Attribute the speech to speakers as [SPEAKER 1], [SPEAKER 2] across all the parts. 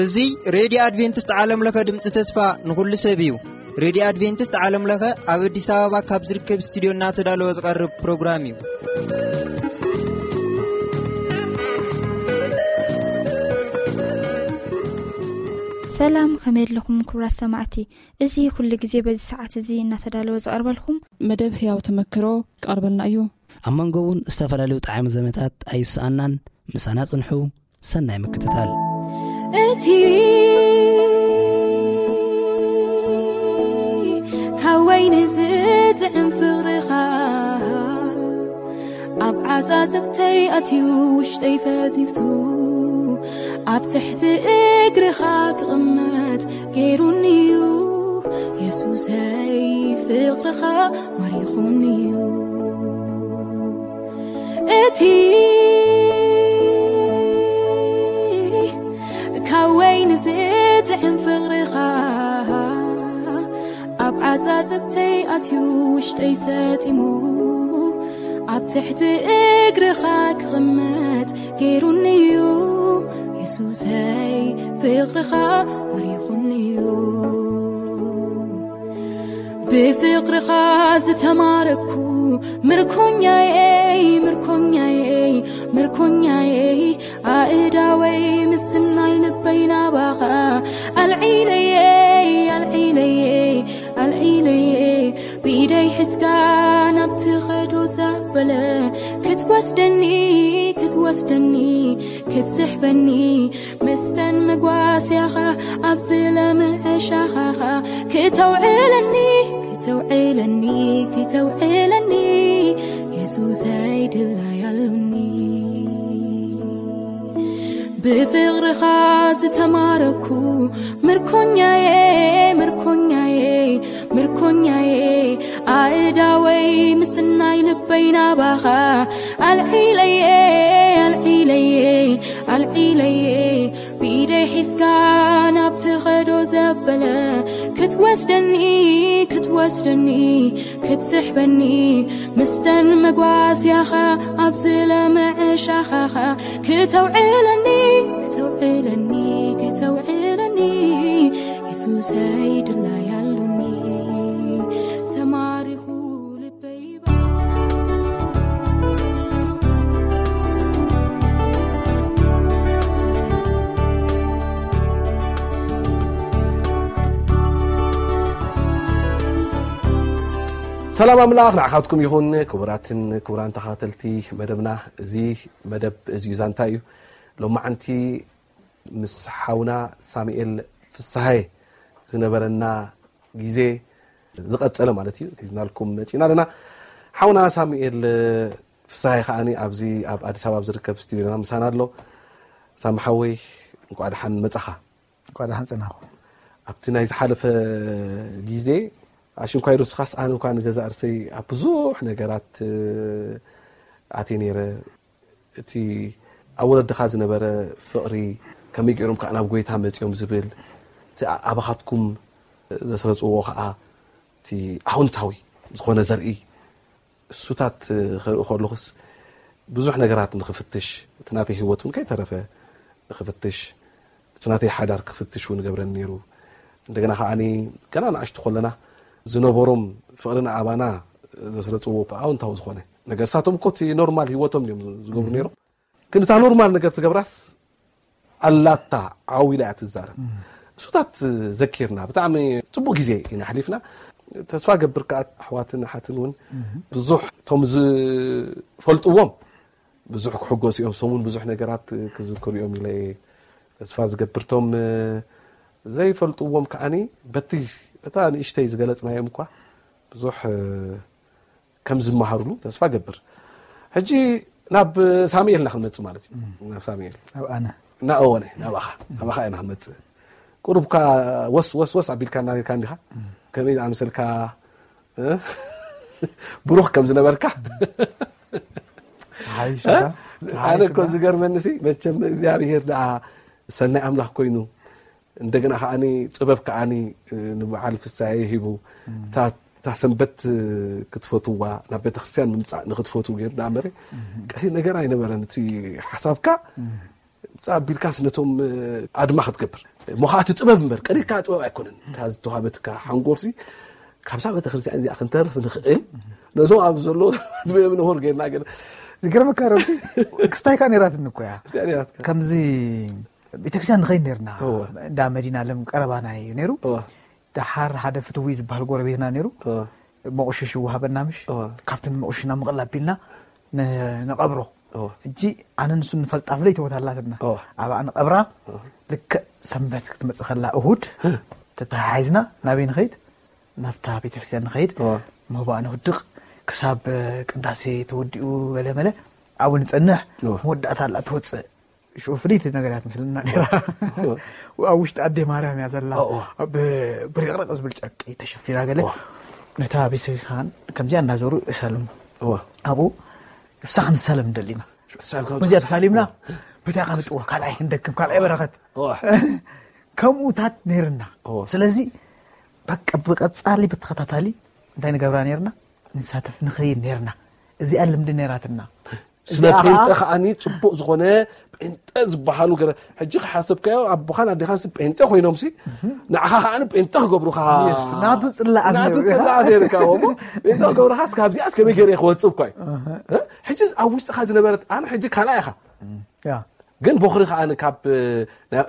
[SPEAKER 1] እዙይ ሬድዮ ኣድቨንትስት ዓለምለኸ ድምፂ ተስፋ ንኹሉ ሰብ እዩ ሬድዮ ኣድቨንትስት ዓለምለኸ ኣብ ኣዲስ ኣበባ ካብ ዝርከብ እስትድዮ እናተዳለወ ዝቐርብ ፕሮግራም እዩ
[SPEAKER 2] ሰላም ከመይ ኣለኹም ክብራት ሰማዕቲ እዚ ኩሉ ግዜ በዚ ሰዓት እዚ እናተዳለወ ዝቐርበልኩም
[SPEAKER 3] መደብ ህያው ተመክሮ ክቐርበልና እዩ
[SPEAKER 4] ኣብ መንጎ እውን ዝተፈላለዩ ጣዕሚ ዘመታት ኣይስኣናን ምሳና ጽንሑ ሰናይ ምክትታል
[SPEAKER 5] እቲ ሃወይኒ ዝጥዕም ፍቕሪኻ ኣብ ዓፃፅብተይ ኣትዩ ውሽጠይ ፈቲፍቱ ኣብ ትሕቲ እግርኻ ክቕመጥ ገይሩኒ እዩ የሱሰይ ፍቕርኻ መሪኹኒ እዩ እቲ ካብ ወይ ንዝጥዕም ፍቕሪኻ ኣብ ዓፃፅብተይ ኣትዩ ውሽጠይ ሰጢሙ ኣብ ትሕቲ እግርኻ ክቕመጥ ገይሩኒ እዩ የሱሰይ ፍቕርኻ መሪኹኒ እዩ ብፍቕርኻ ዝተማረኩ ምርኮኛየይ ምርኮኛየይ ምርኮኛየይ ኣእዳወይ ምስናይ ልበይ ናባኻ ኣልዒለየይ ኣልዒለየይ ኣልዒለየይ ብኢደይ ሕዝጋ ናብቲ ኸዶ ዘበለ ክትወስደኒ ክትወስደኒ ክትስሕበኒ ምስተን መጓስያኻ ኣብ ዝለምዕሻኻኻ ክተውዕለኒ ክተውዕለኒ ክተውዕለኒ የሱሰይ ድላያሉኒ ብፍቕርኻ ዝተማረኩ ምርኮኛየ ምርኮኛየ ምርኮኛየ ኣእዳወይ ምስናይ ልበይ ናባኻ ኣልዒለየ ኣልዒለየ ኣልዒለየ ብኢደይ ሒዝካ ናብቲ ኸዶ ዘበለ ክትወስደኒ ክትወስደኒ ክትስሕበኒ ምስተን መጓስያኻ ኣብ ዝለምዕሻኻኻ ክተውዕለኒ ክተውዕለኒ ክተውዕለኒ የሱሰይ ድላያሉኒ ተማሪኹ ልበይ
[SPEAKER 6] ሰላም ኣምላኽ ንዓኻትኩም ይኹን ክቡራትን ክቡራን ተኸተልቲ መደብና እዚ መደብ እዚዩ ዛንታ እዩ ሎማዓንቲ ምስ ሓውና ሳሙኤል ፍሳሃየ ዝነበረና ግዜ ዝቐፀለ ማለት እዩ ሒዝናልኩም መፂና ኣለና ሓውና ሳሙኤል ፍሳሃይ ከዓኒ ኣብዚ ኣብ ኣዲስ ኣበባ ዝርከብ ስትድዮና ምሳና ኣሎ ሳምሓወይ እንቋድሓን መፅኻ
[SPEAKER 7] ቋዳሓን ፅናኹ
[SPEAKER 6] ኣብቲ ናይ ዝሓለፈ ግዜ ኣሽንኳይዶ ስኻስ ኣነ ኳ ንገዛ እርሰይ ኣብ ብዙሕ ነገራት ኣቴ ነይረ እቲ ኣብ ወለድኻ ዝነበረ ፍቕሪ ከመይ ገይሮም ከዓ ናብ ጎይታ መፅኦም ዝብል እቲ ኣባኻትኩም ዘስረፅዎ ከዓ እቲ ኣውንታዊ ዝኾነ ዘርኢ እሱታት ክርኢ ከለኹስ ብዙሕ ነገራት ንክፍትሽ እቲ ናተይ ሂወት እውን ከይተረፈ ንክፍትሽ እቲ ናተይ ሓዳር ክፍትሽ እውን ገብረኒ ነይሩ እንደገና ከዓኒ ገና ንኣሽቱ ከለና ዝነበሮም ፍቅሪን ኣባና ዘስረፅዎ ኣውንታዊ ዝኾነ ነገር ሳቶም እኮ እቲ ኖርማል ሂወቶም እዮም ዝገብሩ ነይሮም ግን እታ ኖርማል ነገር ትገብራስ ኣላታ ዓዊላ እያ ትዛረብ እሱታት ዘኪርና ብጣዕሚ ፅቡቅ ግዜ ኢና ሓሊፍና ተስፋ ገብር ከዓ ኣሕዋትን ሓትን እውን ብዙሕ እቶም ዝፈልጥዎም ብዙሕ ክሕጎስ እዮም ሶም ውን ብዙሕ ነገራት ክዝክርኦም ኢለ ተስፋ ዝገብርቶም ዘይፈልጥዎም ከዓኒ በቲ እታ ንእሽተይ ዝገለፅናዮም እኳ ብዙሕ ከም ዝመሃሩሉ ተስፋ ገብር ሕጂ ናብ ሳሙኤልና ክንመፅእ ማለት እዩ ናብ ሳሙኤል ናእወነ ናብኻ ናብኻ ኢና ክንመፅእ ቁሩብካ ወስወስወስ ኣቢልካ እናልካ ዲኻ ከመይ ዝኣመሰልካ ብሩኽ ከም ዝነበርካ ኣነ ኮ ዝገርመኒሲ መቸም እግዚኣብሄር ድኣ ሰናይ ኣምላኽ ኮይኑ እንደገና ከዓኒ ጥበብ ከዓኒ ንበዓል ፍሳይ ሂቡ እታ እታ ሰንበት ክትፈትዋ ናብ ቤተ ክርስትያን ምምፃእ ንክትፈትው ገይሩ ዳመረ ነገር ኣይነበረን እቲ ሓሳብካ ምፃእ ኣቢልካስ ነቶም ኣድማ ክትገብር ሞካእቲ ጥበብ እምበር ቀዲድካ ጥበብ ኣይኮነን እታ ዝተዋሃበትካ ሓንጎርሲ ካብዛ ቤተ ክርስትያን እዚኣ ክንተርፍ ንኽእል ነዞም ኣብ ዘሎ ትበብ ንሆር ጌርና ገ
[SPEAKER 7] ዝገርመካ ረብቲ ክስታይካ ነራትኒ ኮያ
[SPEAKER 6] ራትካ
[SPEAKER 7] ከምዚ ቤተክርስትያን ንኸይድ ነርና
[SPEAKER 6] እወ።
[SPEAKER 7] እንዳ መዲና ለም ቀረባና እዩ ነይሩ
[SPEAKER 6] እወ
[SPEAKER 7] ድሓር ሓደ ፍትዊ ዝበሃል ጎረቤትና ነይሩ
[SPEAKER 6] እወ
[SPEAKER 7] መቑሽሽ ይወሃበና ምሽ
[SPEAKER 6] እወ።
[SPEAKER 7] ካብቲ መቑሽሽና ምቕል ኣቢልና ነ- ነቐብሮ
[SPEAKER 6] እወ።
[SPEAKER 7] እጂ ኣነ ንሱ ንፈልጣ ፍለይ ተወታላትና
[SPEAKER 6] እወ።
[SPEAKER 7] ኣብኣ ንቐብራ ልክዕ ሰንበት ክትመፅእ ከላ እሁድ ተተሓሒዝና ናበይ ንኸይድ ናብታ ቤተክርስትያን ንኸይድ
[SPEAKER 6] እወ።
[SPEAKER 7] ምህባእ ነውድቕ ክሳብ ቅዳሴ ተወዲኡ መለመለ ኣብኡ ንፀንሕ
[SPEAKER 6] እወ።
[SPEAKER 7] መወዳእታ ላ ትወፅእ ሽዑ ፍልይቲ ነገራት ምስልና ነራ ኣብ ውሽጢ ኣዴ ማርያም እያ ዘላ
[SPEAKER 6] እወ።
[SPEAKER 7] ብሪቕርቕ ዝብል ጨርቂ ተሸፊና ገለ
[SPEAKER 6] እወ።
[SPEAKER 7] ነታ ቤተክርስትያን ከምዚኣ እናዘሩ እሰልሙ
[SPEAKER 6] እወ
[SPEAKER 7] ኣብኡ እሳ ክንሰለም ደሊና መዚኣ ተሳሊምና ቤታ ክንጥውር ካልኣይ ክንደክም ካልኣይ በረኸት
[SPEAKER 6] እወ።
[SPEAKER 7] ከምኡታት ነይርና
[SPEAKER 6] እወ።
[SPEAKER 7] ስለዚ በቀ ብቀፃሊ ብተኸታታሊ እንታይ ንገብራ ነርና ንሳተፍ ንኸይድ ነርና እዚኣ ልምዲ ነራትና
[SPEAKER 6] ስለ
[SPEAKER 7] እዚኣ ከዓ-
[SPEAKER 6] ጴንጠ ከዓኒ ፅቡቅ ዝኾነ ጴንጠ ዝበሃሉ ገለ ሕጂ ክሓሰብካዮ ኣቦኻን ኣዴኻን ጴንጠ ኮይኖም ሲ ንዓኻ ከዓኒ ጴንጠ ክገብሩካ
[SPEAKER 7] Yes, ናቱ ፅላእ
[SPEAKER 6] ናቱ
[SPEAKER 7] ነይሩ ኢኻ።
[SPEAKER 6] ፅላእ ነይርካ እሞ ጴንጠ ክገብሩካስ ካብዚኣስ ከመይ ገይረ ክወፅብ ኳ እዩ ሕጂ ኣብ ውሽጢኻ ዝነበረት ኣነ ሕጂ ካልኣይ ኢኻ
[SPEAKER 7] ያ
[SPEAKER 6] ግን በኽሪ ከዓ ካብ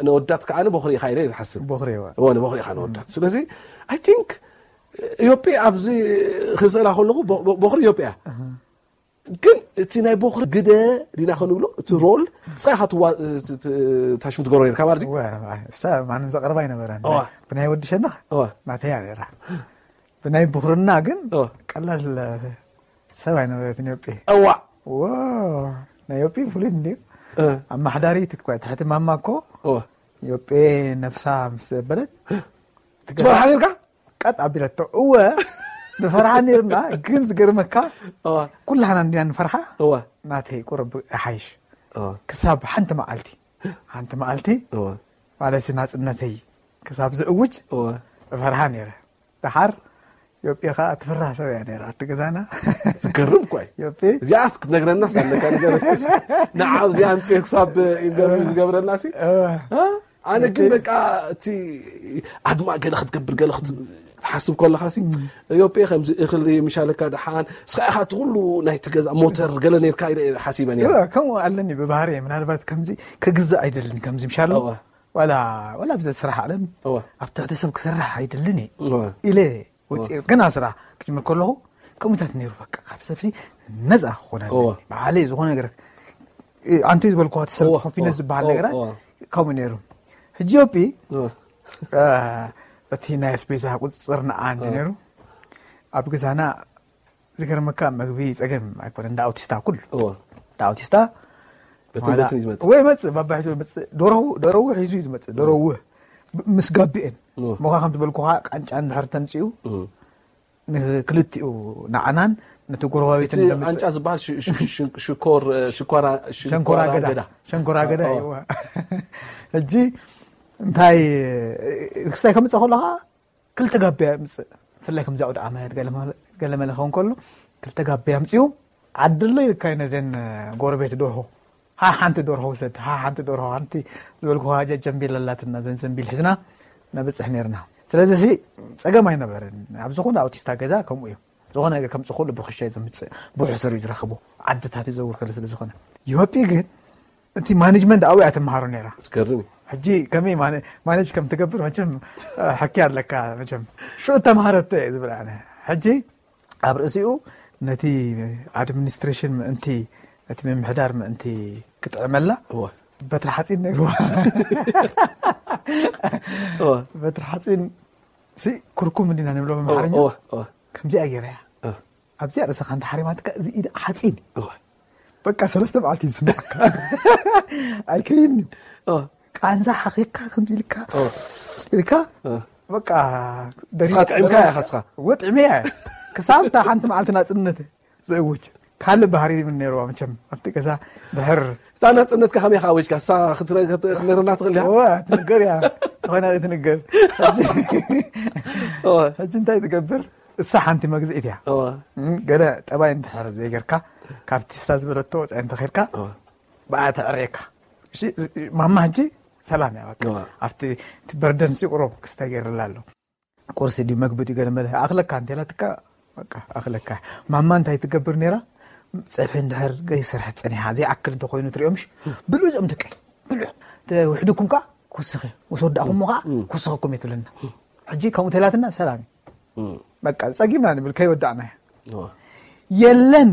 [SPEAKER 6] ነወዳት ከዓ በኽሪ ኢኻ ኢለ ዝሓስብ
[SPEAKER 7] በኽሪ እየ።
[SPEAKER 6] እዎ ንበኽሪ ኢኻ ነወዳት ስለዚ ኣይ ቲንክ ኢዮጴ uh, ኣብዚ uh, ክስእላ ከለኹ በ- በኽሪ ኢዮጴ እያ ግን እቲ ናይ በኽሪ ግደ ዲና ክንብሎ እቲ ሮል ፀይኻ ታሽሙ ትገብሮ ነርካ ማለት እዩ
[SPEAKER 7] ወይ ኣነ- እሳ ማንም ዘቕርባ ኣይነበረን
[SPEAKER 6] እዋ።
[SPEAKER 7] ብናይ ወዲ ሸነኽ
[SPEAKER 6] እዋ።
[SPEAKER 7] ናተያ ነራ ብናይ ብኽርና ግን
[SPEAKER 6] እዋ።
[SPEAKER 7] ቀላል ሰብ ኣይነበረት ንዮጴ
[SPEAKER 6] እዋ
[SPEAKER 7] ዎ ናይ ዮጴ ፍሉይ እንዲ
[SPEAKER 6] እ፣
[SPEAKER 7] ኣብ ማሕዳሪት እኳ ትሕቲ ማማ ኮ
[SPEAKER 6] እዋ
[SPEAKER 7] ዮጴ ነብሳ ምስ በለት
[SPEAKER 6] ትፈርሓ ነርካ
[SPEAKER 7] ቀጥ ኣቢለቶ እወ ንፈርሓ ነርና ግን ዝገርመካ
[SPEAKER 6] እዋ
[SPEAKER 7] ኩላሕና እንዲና ንፈርሓ
[SPEAKER 6] እዋ
[SPEAKER 7] ናተይ ቁረብ ሓይሽ
[SPEAKER 6] እዋ
[SPEAKER 7] ክሳብ ሓንቲ መዓልቲ ሓንቲ መዓልቲ
[SPEAKER 6] እዋ
[SPEAKER 7] ማለት ናፅነተይ ክሳብ ዝእውጅ
[SPEAKER 6] እዋ
[SPEAKER 7] ፈርሓ ነይረ ድሓር ዮጴ ከዓ ትፍራ ሰብ እያ ነራ እቲ ገዛና
[SPEAKER 6] ዝገርም ኳ እዩ
[SPEAKER 7] ዮጴ
[SPEAKER 6] እዚኣስ ክትነግረና ሳለካ ነገር ንዓብ እዚኣ ንፅዮ ክሳብ ኢንተርቪው ዝገብረና ሲ እ? ኣነ ግን በቃ እቲ ኣድማ ገለ ክትገብር ገለ ክት- ክትሓስብ ከለካ ሲ ዮጴ ከምዚ እኽሊ ምሻለካ ድሓን ስኻ ኢኻ እቲ ኩሉ ናይቲ ገዛ ሞተር ገለ ነርካ ኢለ እየ ሓሲበ ነይረ
[SPEAKER 7] ዮ- ከምኡ ኣለኒ ብባህሪ እየ ምናልባት ከምዚ ክግዛእ ኣይደልን ከምዚ ምሻሉ
[SPEAKER 6] እወ።
[SPEAKER 7] ዋላ ዋላ ብዘ ስራሕ ኣለም
[SPEAKER 6] እወ።
[SPEAKER 7] ኣብ ትሕቲ ሰብ ክሰርሕ ኣይደልን እየ
[SPEAKER 6] እወ።
[SPEAKER 7] ኢለ ውፅእ ገና ስራሕ ክጅምር ከለኹ ከምኡታት ነይሩ በቃ ካብ ሰብሲ ነፃ ክኾነ
[SPEAKER 6] እወ።
[SPEAKER 7] በዓለ ዝኾነ ነገር እ፣ ኣንተ እዩ ዝበልክዎ እቲ ሰብ
[SPEAKER 6] እወ፣
[SPEAKER 7] ኮንፊደንስ
[SPEAKER 6] እወ፣
[SPEAKER 7] ዝበሃል
[SPEAKER 6] እወ፣
[SPEAKER 7] ነገራት
[SPEAKER 6] እወ።
[SPEAKER 7] ከምኡ ነይሩ ሕጂ ዮጲ
[SPEAKER 6] እወ።
[SPEAKER 7] አ፣ እቲ ናይ ኣስቤዛ ቁፅፅር ንኣ እንዲ ነይሩ ኣብ ገዛና ዝገርመካ መግቢ ፀገም ኣይኮነ እንዳ ኣውቲስታ ኩሉ
[SPEAKER 6] እወ።
[SPEAKER 7] እንዳ ኣውቲስታ
[SPEAKER 6] በቲ
[SPEAKER 7] ዋላ-
[SPEAKER 6] ቤትን እዩ ዝመፅእ
[SPEAKER 7] ወይ ይመፅእ ባባሒዙ ይመፅእ ደረው- ደረውህ ሒዙ እዩ ዝመፅእ ደረውህ ብ- ምስ ጋቢአን
[SPEAKER 6] እወ።
[SPEAKER 7] ሞካ ከም ትበልኩካ ቃንጫ ንድሕር ተምፅኡ
[SPEAKER 6] እ።
[SPEAKER 7] ንክልቲኡ ንዓናን ነቲ
[SPEAKER 6] እቲ
[SPEAKER 7] ጎረባቤትን
[SPEAKER 6] ኣንጫ
[SPEAKER 7] ዘምፅእ
[SPEAKER 6] ዝበሃል ሽ- ሽ- ሽ- ሽኮር እ፣ ሽኮራ-
[SPEAKER 7] ሸንኮራ ገዳ ሸንኮራ ገዳ እዩ
[SPEAKER 6] እወ።
[SPEAKER 7] ሕጂ እንታይ ክስታይ ከምፅእ ከለካ ክልተ ጋቢያ ምፅእ ብፍላይ ከምዚ ኣውደ ዓመት ገለ መለ ከውን ከሎ ክልተ ጋቢያ ምፅኡ ዓድሎ ይልካዩ ነዘን ጎረቤት ደርሆ ሃ ሓንቲ ደርሆ ውሰድ ሃ ሓንቲ ደርሆ ሓንቲ ዝበልኩ ሃጃ ጀንቢል ኣላትና ዘን ዘንቢል ሒዝና ነብፅሕ ነርና ስለዚ ሲ ፀገም ኣይነበረን ኣብ ዝኾነ ኣውቲስታ ገዛ ከምኡ እዩ ዝኾነ ነገር ከምፅ ከሉ ብክሻ እዩ ዘምፅእ ብሕሰር እዩ ዝረኽቦ ዓድታት እዩ ዘውር ከለ ስለዝኾነ ዮጲ ግን እቲ ማኔጅመንት ኣብኡ እያ ትመሃሮ ነይራ
[SPEAKER 6] ዝገርም እዩ
[SPEAKER 7] ሕጂ ከመይ ማነ- ማኔጅ ከም ትገብር መቸም ሕኪ ኣለካ መቸም ሽዑ ተምሃረቶ እየ ዝብል ኣነ ሕጂ ኣብ ርእሲኡ ነቲ ኣድሚኒስትሬሽን ምእንቲ እቲ ምምሕዳር ምእንቲ ክጥዕመላ
[SPEAKER 6] እወ።
[SPEAKER 7] በትሪ ሓፂን ነይሩዋ
[SPEAKER 6] እወ።
[SPEAKER 7] በትሪ ሓፂን ሲ ኩርኩም እንዲና ንብሎ መምሓርኛ
[SPEAKER 6] እወ። እወ።
[SPEAKER 7] ከምዚኣ ገይራ እያ
[SPEAKER 6] እ።
[SPEAKER 7] ኣብዚኣ ርእስኻ እንተሓሪማትካ እዚ ኢድ ሓፂን
[SPEAKER 6] እወ።
[SPEAKER 7] በቃ ሰለስተ መዓልቲ እዩ ዝስምዓካ ኣይከይድኒ
[SPEAKER 6] እወ።
[SPEAKER 7] ቃንዛ ሓኺካ ከምዚ ኢልካ
[SPEAKER 6] እወ።
[SPEAKER 7] ኢልካ በቃ
[SPEAKER 6] ንስኻ ጥዒምካ ኢኻ ንስኻ?
[SPEAKER 7] ወጥዕሚ እያ ክሳብ እታ ሓንቲ መዓልቲ ናፅነት ዝእውጅ ካልእ ባህሪ ምን ነይርዋ መቸም ኣብቲ ገዛ ድሕር
[SPEAKER 6] እታ ናፅነትካ ከመይ ካ ወጅካ ሳ ክትነርና ትኽእል ዲኻ?
[SPEAKER 7] እወ ትንገር እያ ተኮይና ትንገር ሕጂ-
[SPEAKER 6] እወ።
[SPEAKER 7] ሕጂ እንታይ ትገብር እሳ ሓንቲ መግዝኢት እያ ገለ ጠባይ እንድሕር ዘይገርካ ካብቲ ሳ ዝበለቶ ወፅአ እንተኺልካ ብኣ ተዕርየካ እሺ፣ ማማ ሕጂ ሰላም እያ በቃ
[SPEAKER 6] እዋ።
[SPEAKER 7] ኣብቲ እቲ በርደንሲ ቁሮብ ክስተ ገይርላ ኣሎ ቁርሲ ድዩ መግቢ ድዩ ገለ መለ ኣኽለካ እንተላ ትካ በቃ ኣኽለካ እያ ማማ እንታይ ትገብር ነራ ፀብሒ እንድሕር ገይሰርሐት ፀኒሓ ዘይኣክል እንተኮይኑ ትሪኦምሽ ብልዑ እዚኦም ደቀይ ብልዑ ውሕድኩም ከዓ ክውስኺ ምስ ወዳእኹም ከዓ ክውስኸኩም እየ ትብለና ሕጂ ከምኡ እንተላትና ሰላም እዩ በቃ ፀጊምና ንብል ከይወዳእና እያ የለን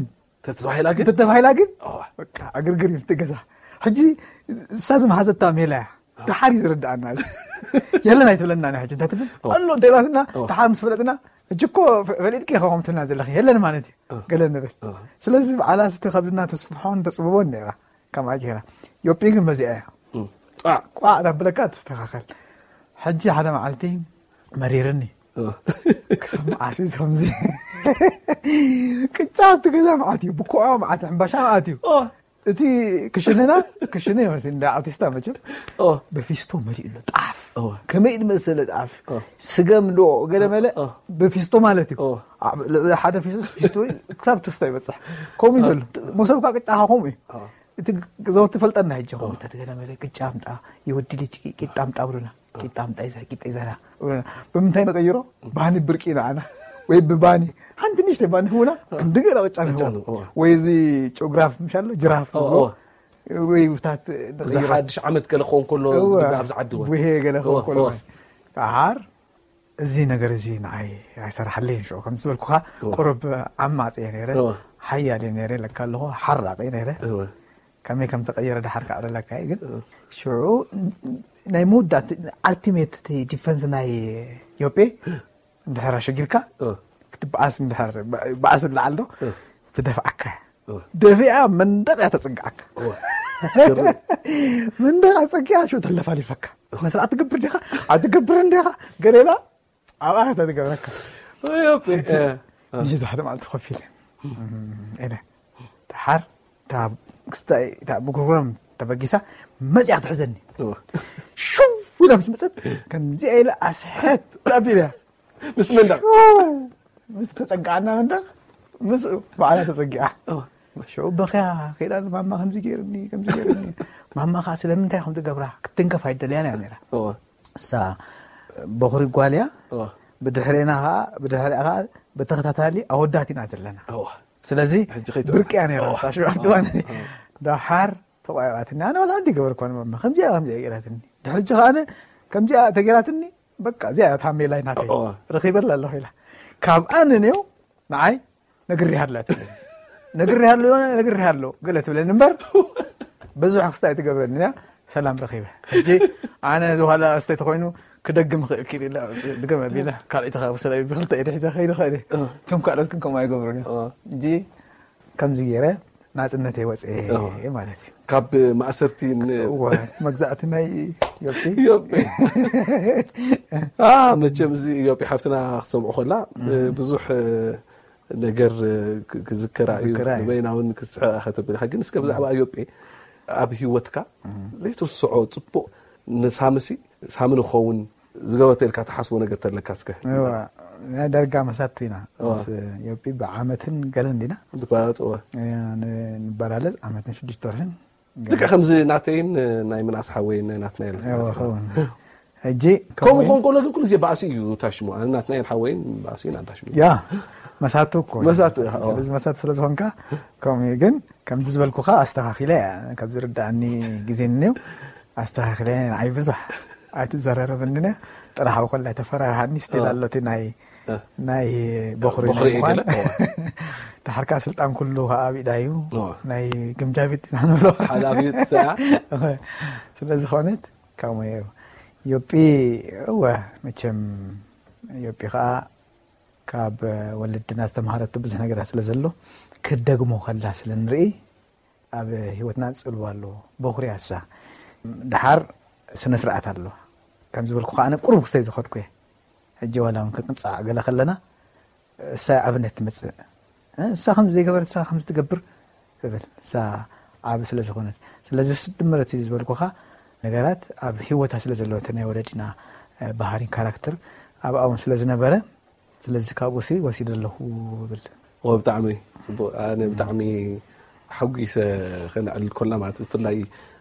[SPEAKER 6] ተተባሂላ ግን
[SPEAKER 7] እንተተባሂላ ግን
[SPEAKER 6] እዋ።
[SPEAKER 7] በቃ ኣግርግር ኢልቲ ገዛ ሕጂ እሳ ዝመሃዘታ ሜላ እያ ድሓር እዩ ዝርዳእና እዚ የለን ኣይትብለና ናይ ሕጂ እንታይ ትብል
[SPEAKER 6] እዋ.
[SPEAKER 7] ኣሎ እንተላትና
[SPEAKER 6] እዋ.
[SPEAKER 7] ድሓር ምስ ፈለጥና እጅ ኮ ፈሊጥቂ ኢኻ ከም ትብልና ዘለኺ የለን ማለት እዩ
[SPEAKER 6] እዋ.
[SPEAKER 7] ገለ ንብል
[SPEAKER 6] እዋ.
[SPEAKER 7] ስለዚ በዓላ ስቲ ከብድና ተስፍሖን ተፅብቦን ነራ ከምኣ ገይራ ዮጲ ግን በዚኣ እያ
[SPEAKER 6] ቋዕ
[SPEAKER 7] ቋዕ ዳብለካ ተስተኻኸል ሕጂ ሓደ መዓልቲ መሪርኒ ክሰም ዓሲዝ ከምዚ ቅጫ ኣብቲ ገዛ መዓት እዩ ብኮ መዓት ሕምባሻ መዓት እዩ እቲ ክሽነና ክሽነ ይመስል እንዳ ኣውቲስታ መችም
[SPEAKER 6] ኦ.
[SPEAKER 7] በፊስቶ መሊኡ ሎ ጣፍ
[SPEAKER 6] ኦ.
[SPEAKER 7] ከመይ ንመሰለ ጣፍ
[SPEAKER 6] ኦ.
[SPEAKER 7] ስገም ዶ ገለ መለ
[SPEAKER 6] ኦ.
[SPEAKER 7] በፊስቶ ማለት እዩ
[SPEAKER 6] ኦ.
[SPEAKER 7] ኣብ ልዕሊ ሓደ ፊስቶ ፊስቶ ክሳብ ትስታ ይበፅሕ ከምኡ እዩ ዘሎ መሰብካ ቅጫ ከምኡ እዩ እቲ ገዛውቲ ፈልጠና ሕጂ ከምኡ ተገለ መለ ቅጫ ምጣ የወዲል ቂጣ ምጣ ብሉና ቂጣ ምጣ ይዛ ቂጣ ይዛና ብሉና ብምንታይ ነቀይሮ ባኒ ብርቂ ንዓና ወይ ብባኒ ሓንቲ ንሽተ ባኒ ህቡና ክንዲገላ ቅጫ ንህቦ
[SPEAKER 6] ንህቦ፣ ኦ.
[SPEAKER 7] ወይ እዚ ጮግራፍ ምሻሎ ጅራፍ
[SPEAKER 6] ኦ፣
[SPEAKER 7] ንህቦ
[SPEAKER 6] ኦ.
[SPEAKER 7] ወይ ብታት
[SPEAKER 6] እዚ
[SPEAKER 7] ነቐይሮ።
[SPEAKER 6] ሓድሽ ዓመት ገለ ክኸውን ከሎ ዝግባእ ኣብዚ ዓዲ
[SPEAKER 7] ውሄ ገለ
[SPEAKER 6] እወ፣
[SPEAKER 7] ክኮሎ
[SPEAKER 6] እወ።
[SPEAKER 7] ዓር እዚ ነገር እዚ ንዓይ ኣይሰርሓለይን ሽዑ ከም ዝበልኩካ
[SPEAKER 6] እወ.
[SPEAKER 7] ቁርብ ዓማፅ እየ ነይረ
[SPEAKER 6] እወ.
[SPEAKER 7] ሓያል እየ ነይረ ለካ ኣለኹ ሓራቕ እየ ነይረ
[SPEAKER 6] እወ።
[SPEAKER 7] ከመይ ከም ተቀየረ ድሓር ከዓ ኣለካ እዩ ግን ሽዑ ናይ መወዳእቲ ኣልቲሜት እቲ ዲፈንስ ናይ ዮጴ እንድሕር ኣሸጊርካ
[SPEAKER 6] እወ.
[SPEAKER 7] ክትበኣስ እንድሕር በኣስ ላዓል ዶ
[SPEAKER 6] እወ.
[SPEAKER 7] ትደፍዓካ እያ
[SPEAKER 6] እወ።
[SPEAKER 7] ደፊኣ መንደቕ እያ ተፅንግዓካ
[SPEAKER 6] እወ።
[SPEAKER 7] መንደቕ ኣፀጊያ ሽዑ ተለፋሊፈካ ስነ ስርዓት ትገብር ዲኻ ኣትገብር እንዲኻ ገሌላ ኣብኣ እታ ትገብረካ
[SPEAKER 6] ወይ ኦፔ፣ እ፣ እ፣
[SPEAKER 7] ንሕዚ ሓደ ማለት ኮፍ ኢለ እነ ድሓር እታ ክስታይ እታ ብጉርጉሮም ተበጊሳ መፅያ ክትሕዘኒ
[SPEAKER 6] እወ።
[SPEAKER 7] ሽው ኢላ ምስ መፅት ከምዚኣ ኢለ ኣስሕት ጣቢል እያ
[SPEAKER 6] ምስቲ መንደቕ
[SPEAKER 7] ምስ ተፀግዓና መንደቕ ምስ በዓላ ተፀጊዓ ሽዑ በኺያ ከይዳ ማማ ከምዚ ገይርኒ ከምዚ ገይርኒ ማማ ከዓ ስለምንታይ ከም ትገብራ ክትንከፍ ኣይደለያና እያ ነራ
[SPEAKER 6] እወ፣
[SPEAKER 7] እሳ በኹሪ ጓል እያ
[SPEAKER 6] እወ፣
[SPEAKER 7] ብድሕሪና ከዓ ብድሕሪኣ ከዓ ብተኸታታሊ ኣወዳት ኢና ዘለና
[SPEAKER 6] እወ፣
[SPEAKER 7] ስለዚ
[SPEAKER 6] ሕጂ ከይትዕርፍ።
[SPEAKER 7] ብርቂ እያ ነራ
[SPEAKER 6] እዋ።
[SPEAKER 7] እሳ ሽዑ ዋን ዳሓር ተቋዒባትኒ ኣነ ወላ እንዲ ገበርኳን ማማ ከምዚኣ ከምዚኣ ገይራትኒ ድሕሪ ጂ ከዓነ ከምዚኣ ተገይራትኒ በቃ እዚኣ እታ ሜላይ ናተይ
[SPEAKER 6] እዋ.
[SPEAKER 7] ረኺበላ ኣለኹ ኢላ ካብኣ ንንዮ ንዓይ ነግሪሃ ኣላ ትብለኒ ነግሪሃ ኣሎ ነግሪሃ ኣሎ ገለ ትብለኒ እምበር ብዙሕ ክስታይ ትገብረኒ እያ ሰላም ረኺበ ሕጂ ኣነ ዝኋላ ስተይ ተኮይኑ ክደግም ክእል ክእል ኢላ ድገም ኣቢላ ካልእ ተኸብሰለ ብክልተ ኢደ ሒዛ ከይድ ክእል እቶም ካልኦት ግን ከምኡ ኣይገብሩን
[SPEAKER 6] እ.
[SPEAKER 7] እዮም እንጂ ከምዚ ገይረ ናፅነተይ ወፅአ
[SPEAKER 6] እ.
[SPEAKER 7] ማለት እዩ
[SPEAKER 6] ካብ ማእሰርቲ ን-
[SPEAKER 7] እዋ መግዛእቲ ናይ ዮጲ
[SPEAKER 6] ዮጴ አ መቸም እዚ ዮጴ ሓፍትና ክሰምዑ ከላ እ፣ ብዙሕ እ፣ ነገር እ፣ ክ- ክዝከራ እዩ
[SPEAKER 7] ክዝከራ እዩ።
[SPEAKER 6] በይናውን ክስሕቃ ከተብል ግን እስከ ብዛዕባ ዮጴ ኣብ ሂወትካ ዘይትርስዖ ፅቡቅ ንሳምሲ ሳሚ ንኸውን ዝገበተ ኢልካ ተሓስቦ ነገር ተለካ ስከ
[SPEAKER 7] እዋ ናይ ዳርጋ መሳቱ ኢና
[SPEAKER 6] እዋ.
[SPEAKER 7] ምስ ዮጲ ብዓመትን ገለን ዲና
[SPEAKER 6] ዝባለጥዎ
[SPEAKER 7] እ፣ ን- ንበላለፅ ዓመትን ሽዱሽተ ወርሕን
[SPEAKER 6] ልክ ከምዚ ናተይን እ፣ ናይ ምናስ ሓወይን ናይ ናትና ኢል
[SPEAKER 7] እዋ ኸውን ሕጂ
[SPEAKER 6] ከምኡ ክኸውን ከሎ ግን ኩሉ ግዜ ባእሲ እዩ ታሽሙ ኣነ ናትና ኢል ሓወይን ባእሲ ኢና ታሽሙ
[SPEAKER 7] ያ መሳቱ እኮ እዩ።
[SPEAKER 6] መሳቱ፣ አዎ።
[SPEAKER 7] ስለዚ መሳቱ ስለ ዝኾንካ ከምኡ ግን ከምቲ ዝበልኩካ ኣስተኻኺለ እያ ካብ ዝርዳእኒ ግዜ እኒው ኣስተኻኺለ ንዓይ ብዙሕ ኣይትዘረረብኒነ ጥራሓዊ ኮላ ተፈራርሓኒ ስትል ኣሎቲ ናይ ናይ በኹሪ
[SPEAKER 6] በኹሪ እየ
[SPEAKER 7] ምኳን
[SPEAKER 6] ገለ፣ አዎ።
[SPEAKER 7] ድሓር ከዓ ስልጣን ኩሉ ከዓ ኣብኢዳ እዩ
[SPEAKER 6] አዎ።
[SPEAKER 7] ናይ ግምጃ ቤት ኢና ንብሎ
[SPEAKER 6] ሓደ ኣብዩ ትሰያ
[SPEAKER 7] ስለዝኾነት ከምኡ እዩ ዮጲ እወ መቸም ዮጲ ከዓ ካብ ወለድና ዝተምሃረቱ ብዙሕ ነገራት ስለ ዘሎ ክደግሞ ከላ ስለ ንርኢ ኣብ ሂወትና ፅልዋ ኣለዎ በኹርያ ሳ ድሓር ስነ ስርዓት ኣለዋ ከም ዝበልኩ ከዓ ኣነ ቁርብ ክስተይ ዝኸድኩ እየ ሕጂ ዋላ እውን ክንቅንፃዕ ገለ ከለና እሳ ኣብነት ትመፅእ እ፣ እሳ ከምዚ ዘይገበረት እሳ ከምዚ ትገብር ትብል እሳ ኣብ ስለ ዝኾነት ስለዚ ስድምረት እዩ ዝበልኩካ ነገራት ኣብ ሂወታ ስለ ዘለዎ እቲ ናይ ወለዲና ባህሪን ካራክተር ኣብኣ እውን ስለ ዝነበረ ስለዚ ካብኡ ሲ ወሲድ ኣለኹ ብል
[SPEAKER 6] ብጣዕሚ ፅቡቅ ኣነ ብጣዕሚ ሓጒሰ ክነዕልል ኮልና ማለት እዩ ብፍላይ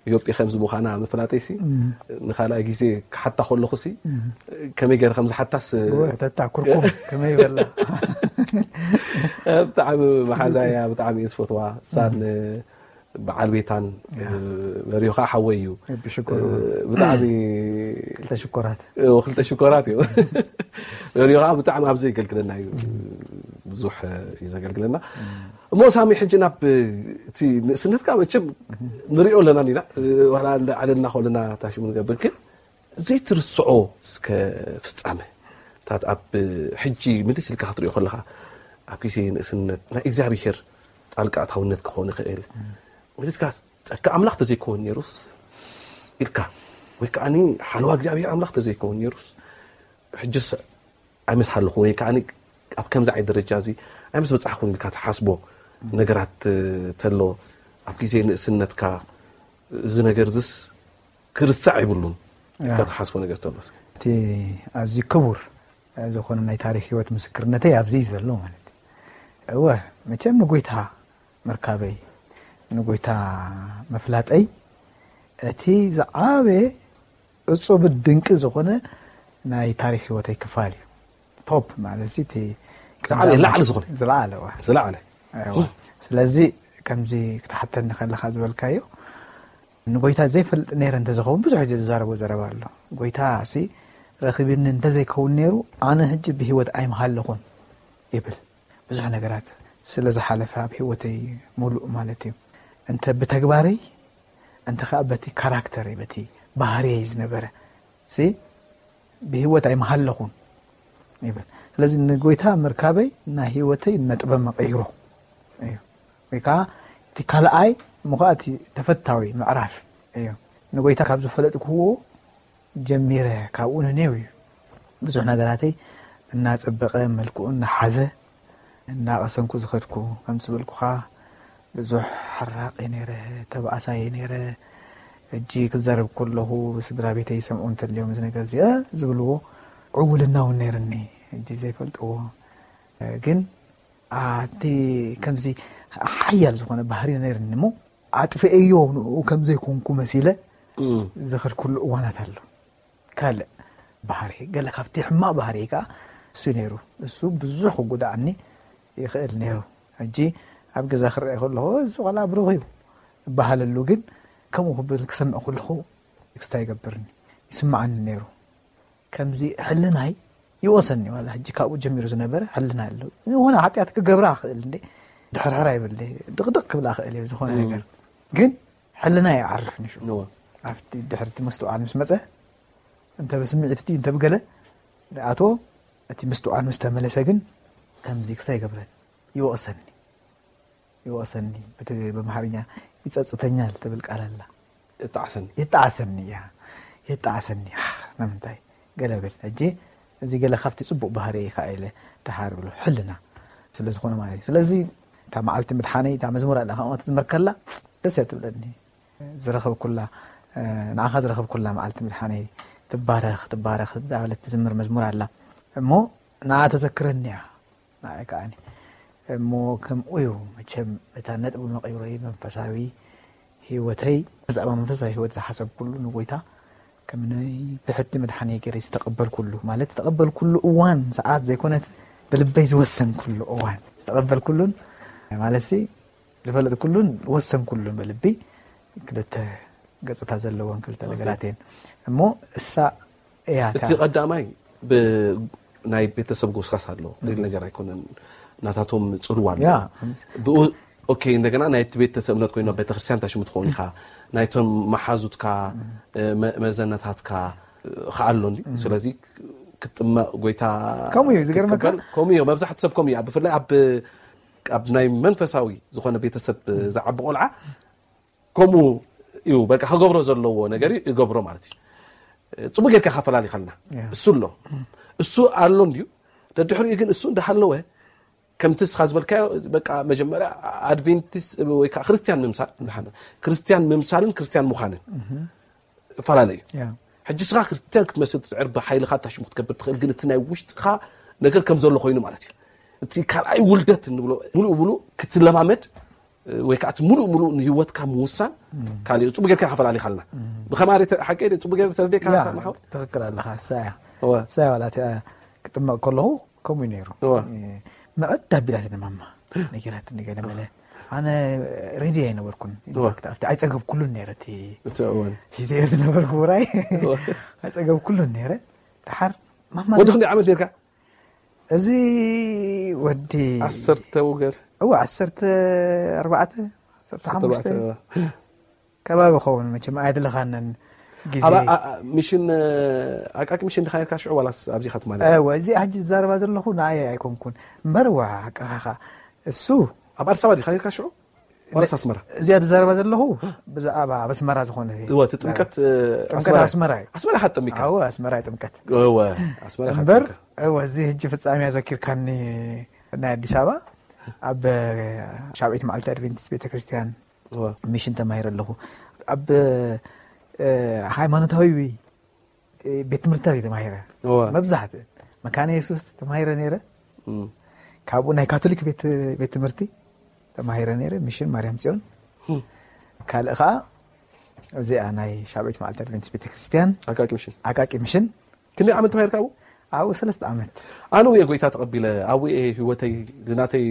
[SPEAKER 6] ኢዮጵያ ከምዚ ምዃና መፈላጠይሲ ንካልኣይ ግዜ ክሓታ ከለኹ ሲ ከመይ ገይረ ከምዝሓታስ
[SPEAKER 7] ተታ ኩርኩም ከመይ ይበላ
[SPEAKER 6] ብጣዕሚ መሓዛያ ብጣዕሚ እየ ዝፈትዋ እሳ በዓል ቤታን መሪዮ ከዓ ሓወይ እዩ
[SPEAKER 7] ብሽኩር
[SPEAKER 6] ብጣዕሚ
[SPEAKER 7] ክልተ ሽኮራት
[SPEAKER 6] ክልተ ሽኮራት እዩ መሪዮ ከዓ ብጣዕሚ ኣብ ዘገልግለና እዩ ብዙሕ እዩ ዘገልግለና እሞ ሳሚ ሕጂ ናብ እቲ ንእስነትካ መቸም ንሪኦ ኣለና ኒና ዋላ ዓለና ከለና ታሽሙ ንገብር ግን ዘይትርስዖ እስከ ፍፃመ እታት ኣብ ሕጂ ምልስ ኢልካ ክትሪኦ ከለካ ኣብ ግዜ ንእስነት ናይ እግዚኣብሄር ጣልቃ ኣታውነት ክኸውን ይኽእል ምልስካ ፀጋ ኣምላኽ ተዘይከውን ነይሩስ ኢልካ ወይ ከዓ ሓለዋ እግዚኣብሔር ኣምላኽ ተዘይከውን ነይሩስ ሕጂስ ዓይነት ሃለኹ ወይ ከዓ ኣብ ከምዚ ዓይነት ደረጃ እዚ ዓይነት በፃሕኹን ኢልካ ትሓስቦ ነገራት ተሎ ኣብ ግዜ ንእስነትካ እዚ ነገር ዝስ ክርሳዕ ይብሉን ኢልካ ትሓስቦ ነገር ተሎ
[SPEAKER 7] እቲ ኣዝዩ ክቡር ዝኾነ ናይ ታሪክ ሂወት ምስክርነተይ ኣብዚ ዘሎ ማለት እዩ እወ መቸም ንጎይታ መርካበይ ንጎይታ መፍላጠይ እቲ ዝዓበየ እፁብን ድንቂ ዝኾነ ናይ ታሪክ ሂወተይ ክፋል እዩ ቶፕ ማለት ዚ እቲ
[SPEAKER 6] ዝዓበየ ላዕሊ ዝኾነ እዩ።
[SPEAKER 7] ዝለዓለ ዋ
[SPEAKER 6] ዝለዓለ
[SPEAKER 7] ኣይዋ ስለዚ ከምዚ ክትሓተኒ ከለካ ዝበልካዮ ንጎይታ ዘይፈልጥ ነረ እንተዝኸውን ብዙሕ ግዜ ዝዛረቦ ዘረባ ኣሎ ጎይታ ሲ ረኪብኒ እንተዘይከውን ነይሩ ኣነ ሕጂ ብሂወት ኣይመሃለኹን ይብል ብዙሕ ነገራት ስለ ዝሓለፈ ኣብ ሂወተይ ሙሉእ ማለት እዩ እንተ ብተግባረይ እንተ ከዓ በቲ ካራክተር በቲ ባህርየ ዝነበረ ሲ ብሂወት ኣይመሃለኹን ይብል ስለዚ ንጎይታ ምርካበይ ናይ ሂወተይ መጥበ መቐይሮ እዩ ወይ ከዓ እቲ ካልኣይ እሞ ከዓ እቲ ተፈታዊ ምዕራፍ እዩ ንጎይታ ካብ ዝፈለጥክዎ ጀሚረ ካብኡ ንነው እዩ ብዙሕ ነገራተይ እናፀበቐ መልክኡ እናሓዘ እናቐሰምኩ ዝኸድኩ ከም ዝብልኩ ከዓ ብዙሕ ሓራቂ ነይረ ተባእሳየ ነይረ እጂ ክዛረብ ከለኹ ስድራ ቤተይ ሰምዑ እንተድልዮም እዚ ነገር እዚኣ ዝብልዎ ዕውልና እውን ነይርኒ እጂ ዘይፈልጥዎ ግን ኣቲ ከምዚ ሓያል ዝኾነ ባህሪ ነይርኒ እሞ ኣጥፍአዮ ንኡ ከምዘይኮንኩ መሲለ ዝኸድኩሉ እዋናት ኣሎ ካልእ ባህሪ ገለ ካብቲ ሕማቅ ባህሪ ከዓ እሱ ነይሩ እሱ ብዙሕ ክጉዳእኒ ይኽእል ነይሩ ሕጂ ኣብ ገዛ ክርአ ከለኹ እዚ ቆላ ብሩኽ እዩ ይበሃለሉ ግን ከምኡ ክብል ክሰምዕ ከለኹ ክስታ ይገብርኒ ይስማዓኒ ነይሩ ከምዚ ሕልናይ ይወሰኒ ዋላ ሕጂ ካብኡ ጀሚሩ ዝነበረ ሕልና ኣሎ ዝኾነ ሓጢኣት ክገብራ ክእል እንዴ ድሕርሕራ ይብል ድቕድቕ ክብላ ክእል እዩ ዝኾነ ነገር ግን ሕልና ይዓርፍ ንሽ
[SPEAKER 6] ንዋ
[SPEAKER 7] ኣብቲ ድሕርቲ ምስትውዓል ምስ መፀ እንተ ብስምዒት ድዩ እንተ ብገለ ንኣትዎ እቲ ምስትውዓል ምስ ተመለሰ ግን ከምዚ ክሳ ይገብረኒ ይወቕሰኒ ይወቕሰኒ በቲ ብማሕርኛ ይፀፅተኛል ትብል ቃል ኣላ
[SPEAKER 6] እጣዕሰኒ
[SPEAKER 7] የጣዓሰኒ እያ የጣዓሰኒ ኣ ንምንታይ ገለ ብል ሕጂ እዚ ገለ ካብቲ ፅቡቅ ባህሪ ከዓ ኢለ ድሓር ብሎ ሕልና ስለ ዝኾነ ማለት እዩ ስለዚ እታ መዓልቲ ምድሓነይ እታ መዝሙር ኣላ ከ ትዝመርከላ ደስ እያ ትብለኒ ዝረኸብ ኩላ ንዓኻ ዝረኸብ ኩላ መዓልቲ ምድሓነይ ትባረኽ ትባረኽ ዳበለት ትዝምር መዝሙር ኣላ እሞ ንኣ ተዘክረኒ እያ ንኣይ ከዓኒ እሞ ከምኡ እዩ መቸም እታ ነጥቢ መቐይሮይ መንፈሳዊ ሂወተይ ብዛዕባ መንፈሳዊ ሂወት ዝሓሰብ ኩሉ ንጎይታ ከም ናይ ብሕቲ መድሓነይ ገይረ ዝተቐበልኩሉ ማለት ዝተቐበልኩሉ እዋን ሰዓት ዘይኮነት ብልበይ ዝወሰንኩሉ እዋን ዝተቐበልኩሉን ማለት ዝፈለጥኩሉን ወሰንኩሉን ብልቢ ክልተ ገፅታ ዘለዎን ክልተ ነገራት እየን እሞ እሳ እያ እታ-
[SPEAKER 6] እቲ ቀዳማይ ብናይ ቤተሰብ ጎስካስ ኣለዎ ድል ነገር ኣይኮነን ናታቶም ፅልዋ ኣሎ
[SPEAKER 7] ያ
[SPEAKER 6] ብኡ ኦኬ እንደገና ናይቲ ቤተሰብ እምነት ኮይኑ ኣብ ቤተክርስትያን ታሽሙ ትኸውን ኢኻ ናይቶም መሓዙትካ መ- መዘነታትካ ከዓ ኣሎ እንዲ ስለዚ ክጥመቕ ጎይታ
[SPEAKER 7] ከምኡ እዩ ዝገርመካ።
[SPEAKER 6] ክቅበል ከምኡ እዩ መብዛሕት ሰብ ከምኡ እዩ ብፍላይ ኣብ ኣብ ናይ መንፈሳዊ ዝኾነ ቤተሰብ ዝዓቢ ቆልዓ ከምኡ እዩ በቃ ክገብሮ ዘለዎ ነገር እዩ ይገብሮ ማለት እዩ ፅቡቅ ጌርካ ካፈላለዩ ከለና እሱ ኣሎ እሱ ኣሎ እንድዩ ደድሕሪኡ ግን እሱ እንዳሃለወ ከምቲ ስኻ ዝበልካዮ በቃ መጀመርያ ኣድቨንቲስ ወይ ከዓ ክርስትያን ምምሳል ንሓን- ክርስትያን ምምሳልን ክርስትያን ምዃንን ይፈላለዩ እዩ
[SPEAKER 7] ያ
[SPEAKER 6] ሕጂ ስኻ ክርስትያን ክትመስል ትፅዕር ብሓይልኻ ታሽሙ ክትገብር ትኽእል ግን እቲ ናይ ውሽጥኻ ነገር ከም ዘሎ ኮይኑ ማለት እዩ እቲ ካልኣይ ውልደት ንብሎ ሙሉእ ሙሉእ ክትለማመድ ወይ ከዓ እቲ ሙሉእ ሙሉእ ንሂወትካ ምውሳን ካልእ ፅቡእ ጌርካ ከፈላለዩ ካለና ብከማሪ ሓቂ ፅቡእ ጌር ተረድየካ
[SPEAKER 7] ያ
[SPEAKER 6] ሳ ማሓወት
[SPEAKER 7] ትኽክል ኣለካ ሳያ
[SPEAKER 6] እወ።
[SPEAKER 7] ሳያ ዋላት እያ ክጥመቕ ከለኹ ከምኡ ነይሩ
[SPEAKER 6] እወ።
[SPEAKER 7] ምዕድ ኣቢላት እኒ ማማ ነገራት ንገለ መለ ኣነ ሬድዮ ኣይነበርኩን
[SPEAKER 6] እወ።
[SPEAKER 7] ክተኣፍቲ ኣይፀገብ ኩሉን ነረ እቲ
[SPEAKER 6] እቲ እውን
[SPEAKER 7] ሒዘዮ ዝነበርኩ ውራይ
[SPEAKER 6] እወ።
[SPEAKER 7] ኣይፀገብ ኩሉን ነረ ድሓር ማማ
[SPEAKER 6] ወዲ ክንደይ ዓመት ጌርካ
[SPEAKER 7] እዚ ወዲ
[SPEAKER 6] ዓሰርተ ውገር
[SPEAKER 7] እዋ ዓሰርተ ኣርባዕተ ዓሰርተ ሓሙሽተ
[SPEAKER 6] እዋ።
[SPEAKER 7] ከባቢ ይኸውን መቸም ኣይድለኻንን
[SPEAKER 6] ኣብ
[SPEAKER 7] ግዜ
[SPEAKER 6] ኣ- ኣ- ሚሽን ኣ- ኣቃቂ ሚሽን ድካ ነርካ ሽዑ ዋላስ ኣብዚ ኢካ ትማለ
[SPEAKER 7] እወ እዚ ሕጂ ዝዛረባ ዘለኹ ንኣየ ኣይኮንኩን እምበር ዋ ቀኻኻ እሱ
[SPEAKER 6] ኣብ ኣዲስ ኣበባ ዲካ ነርካ ሽዑ ዋላስ ኣስመራ
[SPEAKER 7] እዚኣ ዝዛረባ ዘለኹ ብዛዕባ ኣብ ኣስመራ ዝኾነ
[SPEAKER 6] እወ እቲ ጥምቀት እ፣
[SPEAKER 7] ጥምቀት ኣስመራ እዩ
[SPEAKER 6] ኣስመራ ኢካ ትጠሚካ
[SPEAKER 7] ኣዎ ኣስመራ እዩ ጥምቀት
[SPEAKER 6] እወ ኣስመራ ኢካ
[SPEAKER 7] እምበር
[SPEAKER 6] ትጠምካ
[SPEAKER 7] እወ እዚ ሕጂ ፍፃሜያ ዘኪርካኒ ናይ ኣዲስ ኣበባ ኣብ ሻብዒት መዓልቲ ኣድቨንቲስት ቤተ ክርስቲያን
[SPEAKER 6] እወ
[SPEAKER 7] ሚሽን ተማሂረ ኣለኹ ኣብ እ፣ ሃይማኖታዊ እ፣ ቤት ትምህርትታት እዩ ተማሂረ
[SPEAKER 6] እወ።
[SPEAKER 7] መብዛሕትኡ መካነ የሱስ ተማሂረ ነይረ
[SPEAKER 6] እም።
[SPEAKER 7] ካብኡ ናይ ካቶሊክ ቤት ቤት ትምህርቲ ተማሂረ ነይረ ሚሽን ማርያም ፅዮን
[SPEAKER 6] እም።
[SPEAKER 7] ካልእ ከዓ እዚኣ ናይ ሻብዒት መዓልቲ ኣድቨንቲስት ቤተ ክርስቲያን
[SPEAKER 6] ኣቃቂ ሚሽን
[SPEAKER 7] ዓቃቂ ሚሽን
[SPEAKER 6] ክንደይ ዓመት ተማሂርካ ኣብኡ
[SPEAKER 7] ኣብኡ ሰለስተ ዓመት
[SPEAKER 6] ኣነ ውየ ጎይታ ተቐቢለ ኣብ ውየ ሂወተይ ዝናተይ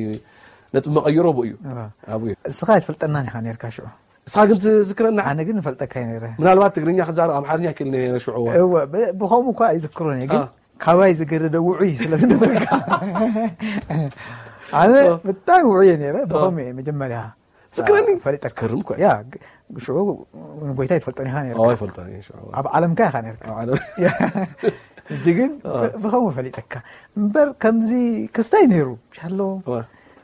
[SPEAKER 6] ነጥ መቐይሮ ብኡ እዩ
[SPEAKER 7] እዋ።
[SPEAKER 6] ኣብ ውየ
[SPEAKER 7] እስኻ ይትፈልጠናን ኢኻ ነርካ ሽዑ
[SPEAKER 6] እስኻ ግን ዝዝክረና
[SPEAKER 7] ኣነ ግን ንፈልጠካ እዩ ነይረ
[SPEAKER 6] ምናልባት ትግርኛ ክዛረብ ኣምሓርኛ ክእል ነረ ሽዑዎ
[SPEAKER 7] እወ ብ- ብከምኡ እኳ ኣይዝክሩን እየ ግን
[SPEAKER 6] አ።
[SPEAKER 7] ካባይ ዝገደደ ውዑይ ስለዝነበርካ ኣነ ብጣዕሚ ውዑይ እየ ነይረ ብከምኡ እየ መጀመርያ
[SPEAKER 6] ዝክረኒ
[SPEAKER 7] ፈሊጠካ
[SPEAKER 6] ዝክርም እኳ እዩ።
[SPEAKER 7] ያ ግ- ሽዑ ንጎይታ ይትፈልጦን ኢኻ ነርካ
[SPEAKER 6] ኣዋ ይፈልጦ ሽዑዎ
[SPEAKER 7] ኣብ ዓለምካ ኢኻ ነርካ
[SPEAKER 6] ኣብ ዓለ
[SPEAKER 7] እጂ ግን ብከምኡ ፈሊጠካ እምበር ከምዚ ክስታይ ነይሩ ሻሎ
[SPEAKER 6] እወ።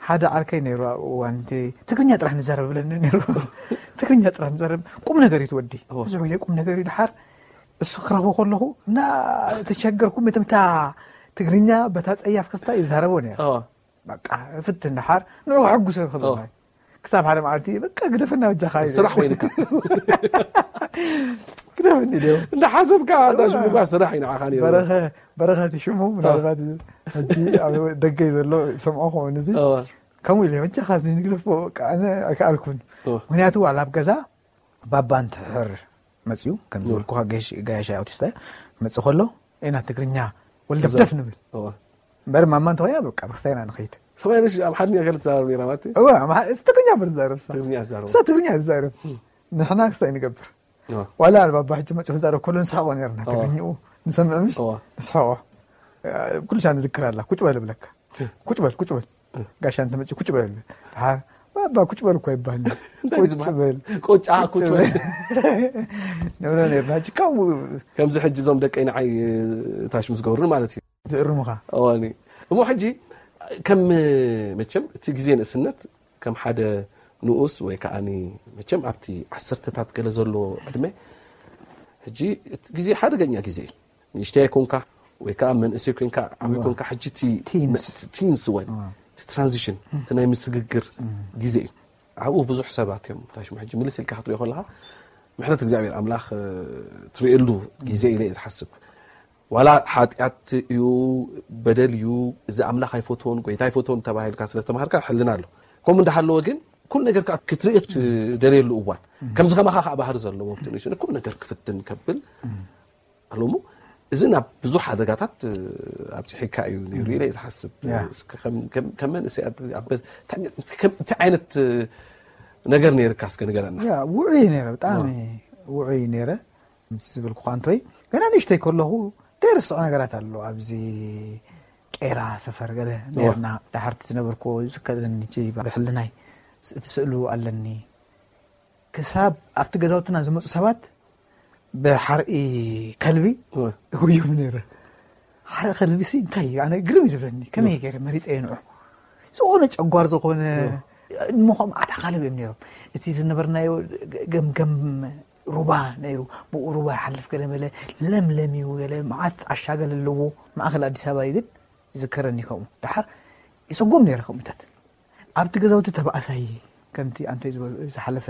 [SPEAKER 7] ሓደ ዓርከይ ነይሩ ኣብ እዋን እቲ ትግርኛ ጥራሕ ንዛረብ ብለኒ ነይሩ ትግርኛ ጥራሕ ንዛረብ ቁም ነገር እዩ ትወዲ
[SPEAKER 6] እወ.
[SPEAKER 7] ብዙሕ ግዜ ቁም ነገር እዩ ድሓር እሱ ክረኽቦ ከለኹ እና ተሸገርኩ ምትምታ ትግርኛ በታ ፀያፍ ክስታይ ይዛረቦ ነይሩ
[SPEAKER 6] ኣዋ
[SPEAKER 7] በቃ ፍትን ድሓር ንዑ ሕጉሰ ክኽእል
[SPEAKER 6] እወ.
[SPEAKER 7] ክሳብ ሓደ መዓልቲ በቃ ግደፈና በጃኻ እዩ
[SPEAKER 6] ስራሕ ወይንካ
[SPEAKER 7] ግደፈኒ ድዮ
[SPEAKER 6] እንዳሓሰብካ እታ ሽሙጓ ስራሕ እዩ ንዓኻ ነይሩ
[SPEAKER 7] በረኸ በረኸ እቲ ሽሙ ምናልባት ሕጂ ኣብ ደገ እዩ ዘሎ ሰምዖ ከውን እዚ
[SPEAKER 6] እወ።
[SPEAKER 7] ከምኡ ኢለ መቸኻ እዚ ንግደፎ በቃ ኣነ ኣይከኣልኩን
[SPEAKER 6] እወ።
[SPEAKER 7] ምክንያቱ ዋላ ኣብ ገዛ ባባ እንትሕር መፅኡ ከም ዝበልኩካ ጋያሻይ ኣውቲስታ እዩ ክመፅእ ከሎ ኢና ትግርኛ ወልደፍደፍ ንብል
[SPEAKER 6] እወ።
[SPEAKER 7] እምበር ማማ እንተኮይና በቃ ብክስታይና ንኸይድ
[SPEAKER 6] ሰማይ ነሽ ኣብ ሓድኛ ገለ ትዛረብ ነራ ማለት እዩ
[SPEAKER 7] እወ ኣማ- እዚ ትግርኛ ብርዛረብ
[SPEAKER 6] ትግርኛ ዝዛረቡ
[SPEAKER 7] ሳ ትግርኛ ዝዛረብ ንሕና ክስታይ ንገብር
[SPEAKER 6] እወ።
[SPEAKER 7] ዋላ ኣልባባ ሕጂ መፅኡ ክዛረብ ከሎ ንስሐቆ ነርና
[SPEAKER 6] እዋ.
[SPEAKER 7] ትግርኝኡ ንሰምዕምሽ
[SPEAKER 6] እዋ።
[SPEAKER 7] ንስሐቆ ኩልሻ ንዝክር ኣላ ኩጭ በል ብለካ ኩጭ በል ኩጭ በል ጋሻ እንተመፅኡ ኩጭ በል ብል ድሓር ባባ ኩጭ በል እኳ ይባሃል
[SPEAKER 6] እንታይ እዩ ዝበሃል? ቁጭ ኣ
[SPEAKER 7] ኩጭ
[SPEAKER 6] ቁጭ
[SPEAKER 7] በል ንብሎ ነርና ሕጂ ካብኡ
[SPEAKER 6] ከምዚ ሕጂ እዞም ደቀይ ንዓይ ታሽ ምስ ገብሩን ማለት እዩ
[SPEAKER 7] ዝእርሙኻ
[SPEAKER 6] እዋኒ እሞ ሕጂ ከም መቸም እቲ ግዜ ንእስነት ከም ሓደ ንኡስ ወይ ከዓኒ መቸም ኣብቲ ዓሰርተታት ገለ ዘሎ ዕድመ ሕጂ እቲ ግዜ ሓደገኛ ግዜ እዩ ንእሽተይ ኮንካ ወይ ከዓ መንእሰይ ኮንካ ዓብይ ኮንካ ሕጂ እቲ
[SPEAKER 7] Teens.
[SPEAKER 6] ቲንስ ወን እቲ ትራንዚሽን እቲ ናይ ምስግግር ግዜ እዩ ኣብኡ ብዙሕ ሰባት እዮም ታሽሙ ሕጂ ምልስ ኢልካ ክትሪኦ ከለካ ምሕረት እግዚኣብሔር ኣምላኽ እ፣ ትሪኤሉ ግዜ ኢለ እዩ ዝሓስብ ዋላ ሓጢኣት እዩ በደል እዩ እዚ ኣምላኽ ኣይፈትዎን ጎይታ ኣይፈትዎን ተባሂልካ ስለ ዝተማሃርካ ሕልና ኣሎ ከምኡ እንዳሃለወ ግን ኩሉ ነገር ከዓ ክትሪኦ ትደልየሉ እዋን ከምዚ ከማኻ ከዓ ባህሪ ዘለዎ ትንሽን ኩሉ ነገር ክፍትን ከብል ኣለሞ እዚ ናብ ብዙሕ ሓደጋታት እ፣ ኣብፅሒካ እዩ ነይሩ ኢለ እዩ ዝሓስብ
[SPEAKER 7] ያ።
[SPEAKER 6] እስከ ከም- ከም- ከም መንእሰይ ኣድ- ኣበ- እንታይ- ከም- እንታይ ዓይነት እ፣ ነገር ነይርካ እስከ ንገረና
[SPEAKER 7] ያ ውዑይ ነይረ ብጣዕሚ ውዑይ ነይረ ምስ ዝብልኩ እንተወይ ገና ንእሽተይ ከለኹ ደርስዖ ነገራት ኣሎ ኣብዚ ቄራ ሰፈር ገለ ነርና ዳሓርቲ ዝነበርክዎ ዝከለኒ ጂ ብሕልናይ ስ- ትስእሉ ኣለኒ ክሳብ ኣብቲ ገዛውትና ዝመፁ ሰባት ብሓርኢ ከልቢ
[SPEAKER 6] እወ።
[SPEAKER 7] እውዮም ነይረ ሓደ ከልቢ ሲ እንታይ እዩ ኣነ ግርም እዩ ዝብለኒ ከመይ ገይረ መሪፀ የንዑ ዝኾነ ጨጓር ዝኾነ ንሞኸም ዓዳ ካልብ እዮም ነይሮም እቲ ዝነበርናዮ ገምገም ሩባ ነይሩ ብኡ ሩባ ይሓልፍ ገለ መለ ለምለም እዩ ገለ መዓት ጣሻ ገለ ኣለዎ ማእኸል ኣዲስ ኣበባ እዩ ግን ይዝከረኒ ከምኡ ድሓር ይፀጎም ነይረ ከምኡታት ኣብቲ ገዛውቲ ተባእሳይ ከምቲ ኣንተይ ዝበልዑ ዝሓለፈ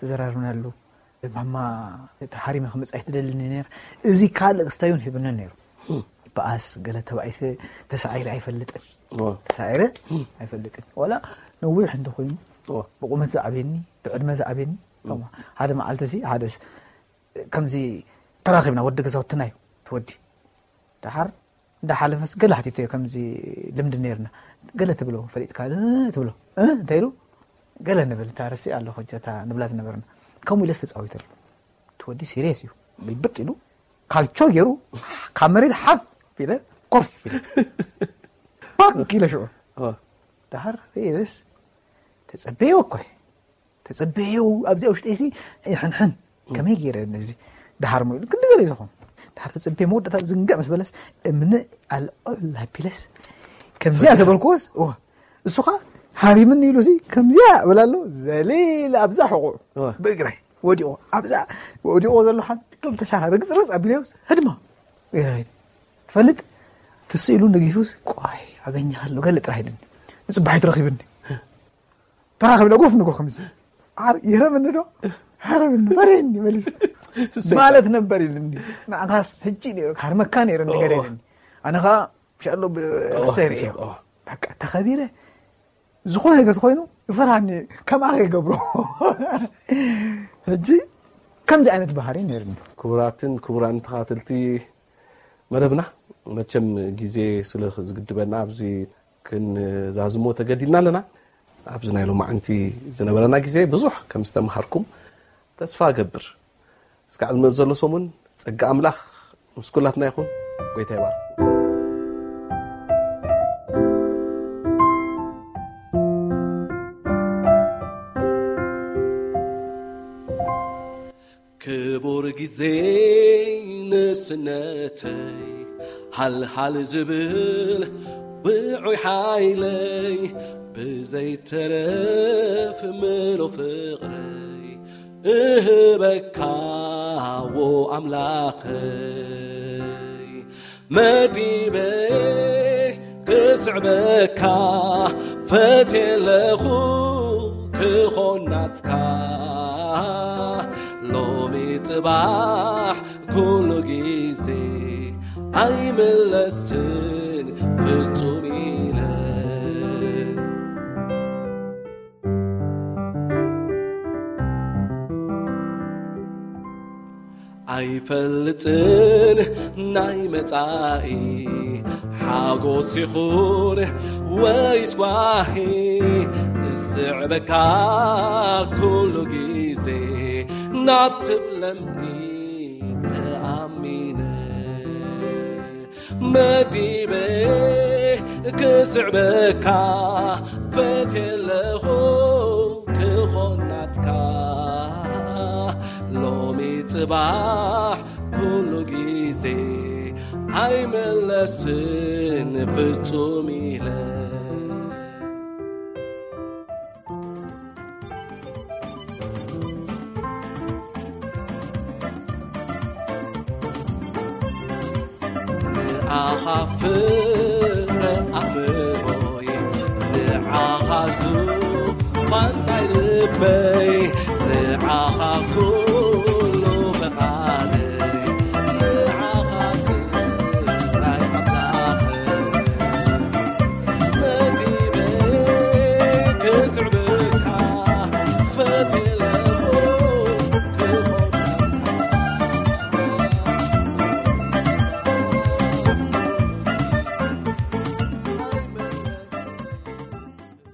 [SPEAKER 7] ተዘራርብናሉ ማማ ተሓሪመ ክመፅእ ኣይትደልኒ ነር እዚ ካልእ ክስታዩን ሂብኒ ነይሩ በኣስ ገለ ተባይሰ ተሳዒረ ኣይፈልጥን ተሳዒረ ኣይፈልጥን ዋላ ነዊሕ እንተኮይኑ ብቁመት ዝዓብየኒ ብዕድመ ዝዓብየኒ ሓደ መዓልቲ እዚ ሓደ ከምዚ ተራኺብና ወዲ ገዛውትና እዩ ትወዲ ድሓር እንዳሓለፈስ ገለ ሓቲቶ እዮ ከምዚ ልምዲ ነርና ገለ ትብሎ ፈሊጥካ እ ትብሎ እ እንታይ ኢሉ ገለ ንብል እንታ ረሲእ ኣለኹ እጀታ ንብላ ዝነበርና ከምኡ ኢለስ ተፃዊት ኣሎ ትወዲ ሲሪየስ እዩ ብልብጥ ኢሉ ካልቾ ገይሩ ካብ መሬት ሓፍ ኢለ ኮፍ ኢለ ባክ ኢለ ሽዑ ድሓር ርስ ተፀበየው እኮይ ተፀበየው ኣብዚኣ ውሽጢ ሲ ሕንሕን ከመይ ገይረ ነዚ ድሓር ሞ ኢሉ ክንደገለ እዩ ዝኾኑ ድሓር ተፀበየ መወዳእታ ዝንጋዕ ምስ በለስ እምኒ ኣልኦል ኣቢለስ ከምዚኣ ተበልክዎስ እወ እሱ ኸ ሃሪምኒ ኢሉ እዚ ከምዚያ እብላ ኣሎ ዘሊል ኣብዛ ሕቑዑ ብእግራይ ወዲቑ ኣብዛ ወዲቑ ዘሎ ሓንቲ ክልተ ሻ ርግፅርፅ ኣቢለዮስ ህድማ ኢራይ ትፈልጥ ትስኢሉ ንጊሁስ ቆይ ኣገኘሃሉ ገለ ጥራሕ ኢልኒ ንፅባሒ ትረኺብኒ ተራኺብና ጎፍ ንጎ ከምዚ ዓር የረብኒ ዶ ሃረብኒ ፈሬኒ መሊስ ማለት ነበር ኢልኒ ንዓኻስ ሕጂ ነይሩ ሃርመካ ነይሩ ነገር ኢልኒ ኣነ ከዓ ሻሎ ብክስተ ርኢ በቃ ተኸቢረ ዝኾነ ነገር ኮይኑ ይፈራኒ ከምኣ ይገብሮ ሕጂ ከምዚ ዓይነት ባህሪ ነርኒ
[SPEAKER 6] ክቡራትን ክቡራን ተኸታተልቲ መደብና መቸም ግዜ ስለ ዝግድበና ኣብዚ ክንዛዝሞ ተገዲድና ኣለና ኣብዚ ናይ ሎ ማዓንቲ ዝነበረና ግዜ ብዙሕ ከም ዝተምሃርኩም ተስፋ ገብር እስካዕ ዝመፅ ዘሎ ሰሙን ፀጋ ኣምላኽ ምስ ኩላትና ይኹን ጎይታ ይባር
[SPEAKER 8] ክቡር ግዜ ንስነተይ ሃልሃል ዝብል ብዑይ ሓይለይ ብዘይተረፍ ምሎ ፍቕረይ እህበካዎ ኣምላኸይ መዲበይ ክስዕበካ ፈትየለኹ ክኾናትካ ሎሚ ጥባሕ ኩሉ ጊዜ ኣይምለስን ፍጹም ኢለ ኣይፈልጥን ናይ መጻኢ ሓጐስ ይኹን ወይስ ጓሂ ዝዕበካ ኩሉ ጊዜ ናብትብለኒ ተኣሚነ መዲበ ክስዕበካ ፈትየለኹ ክኾናትካ ሎሚ ጥባሕ ኩሉ ጊዜ ኣይመለስን ፍጹም ኢለ ንኣኻ ፍረ ኣእምሮይ ንዓኻ ዙፋን ናይ ልበይ ንዓኻ ኩ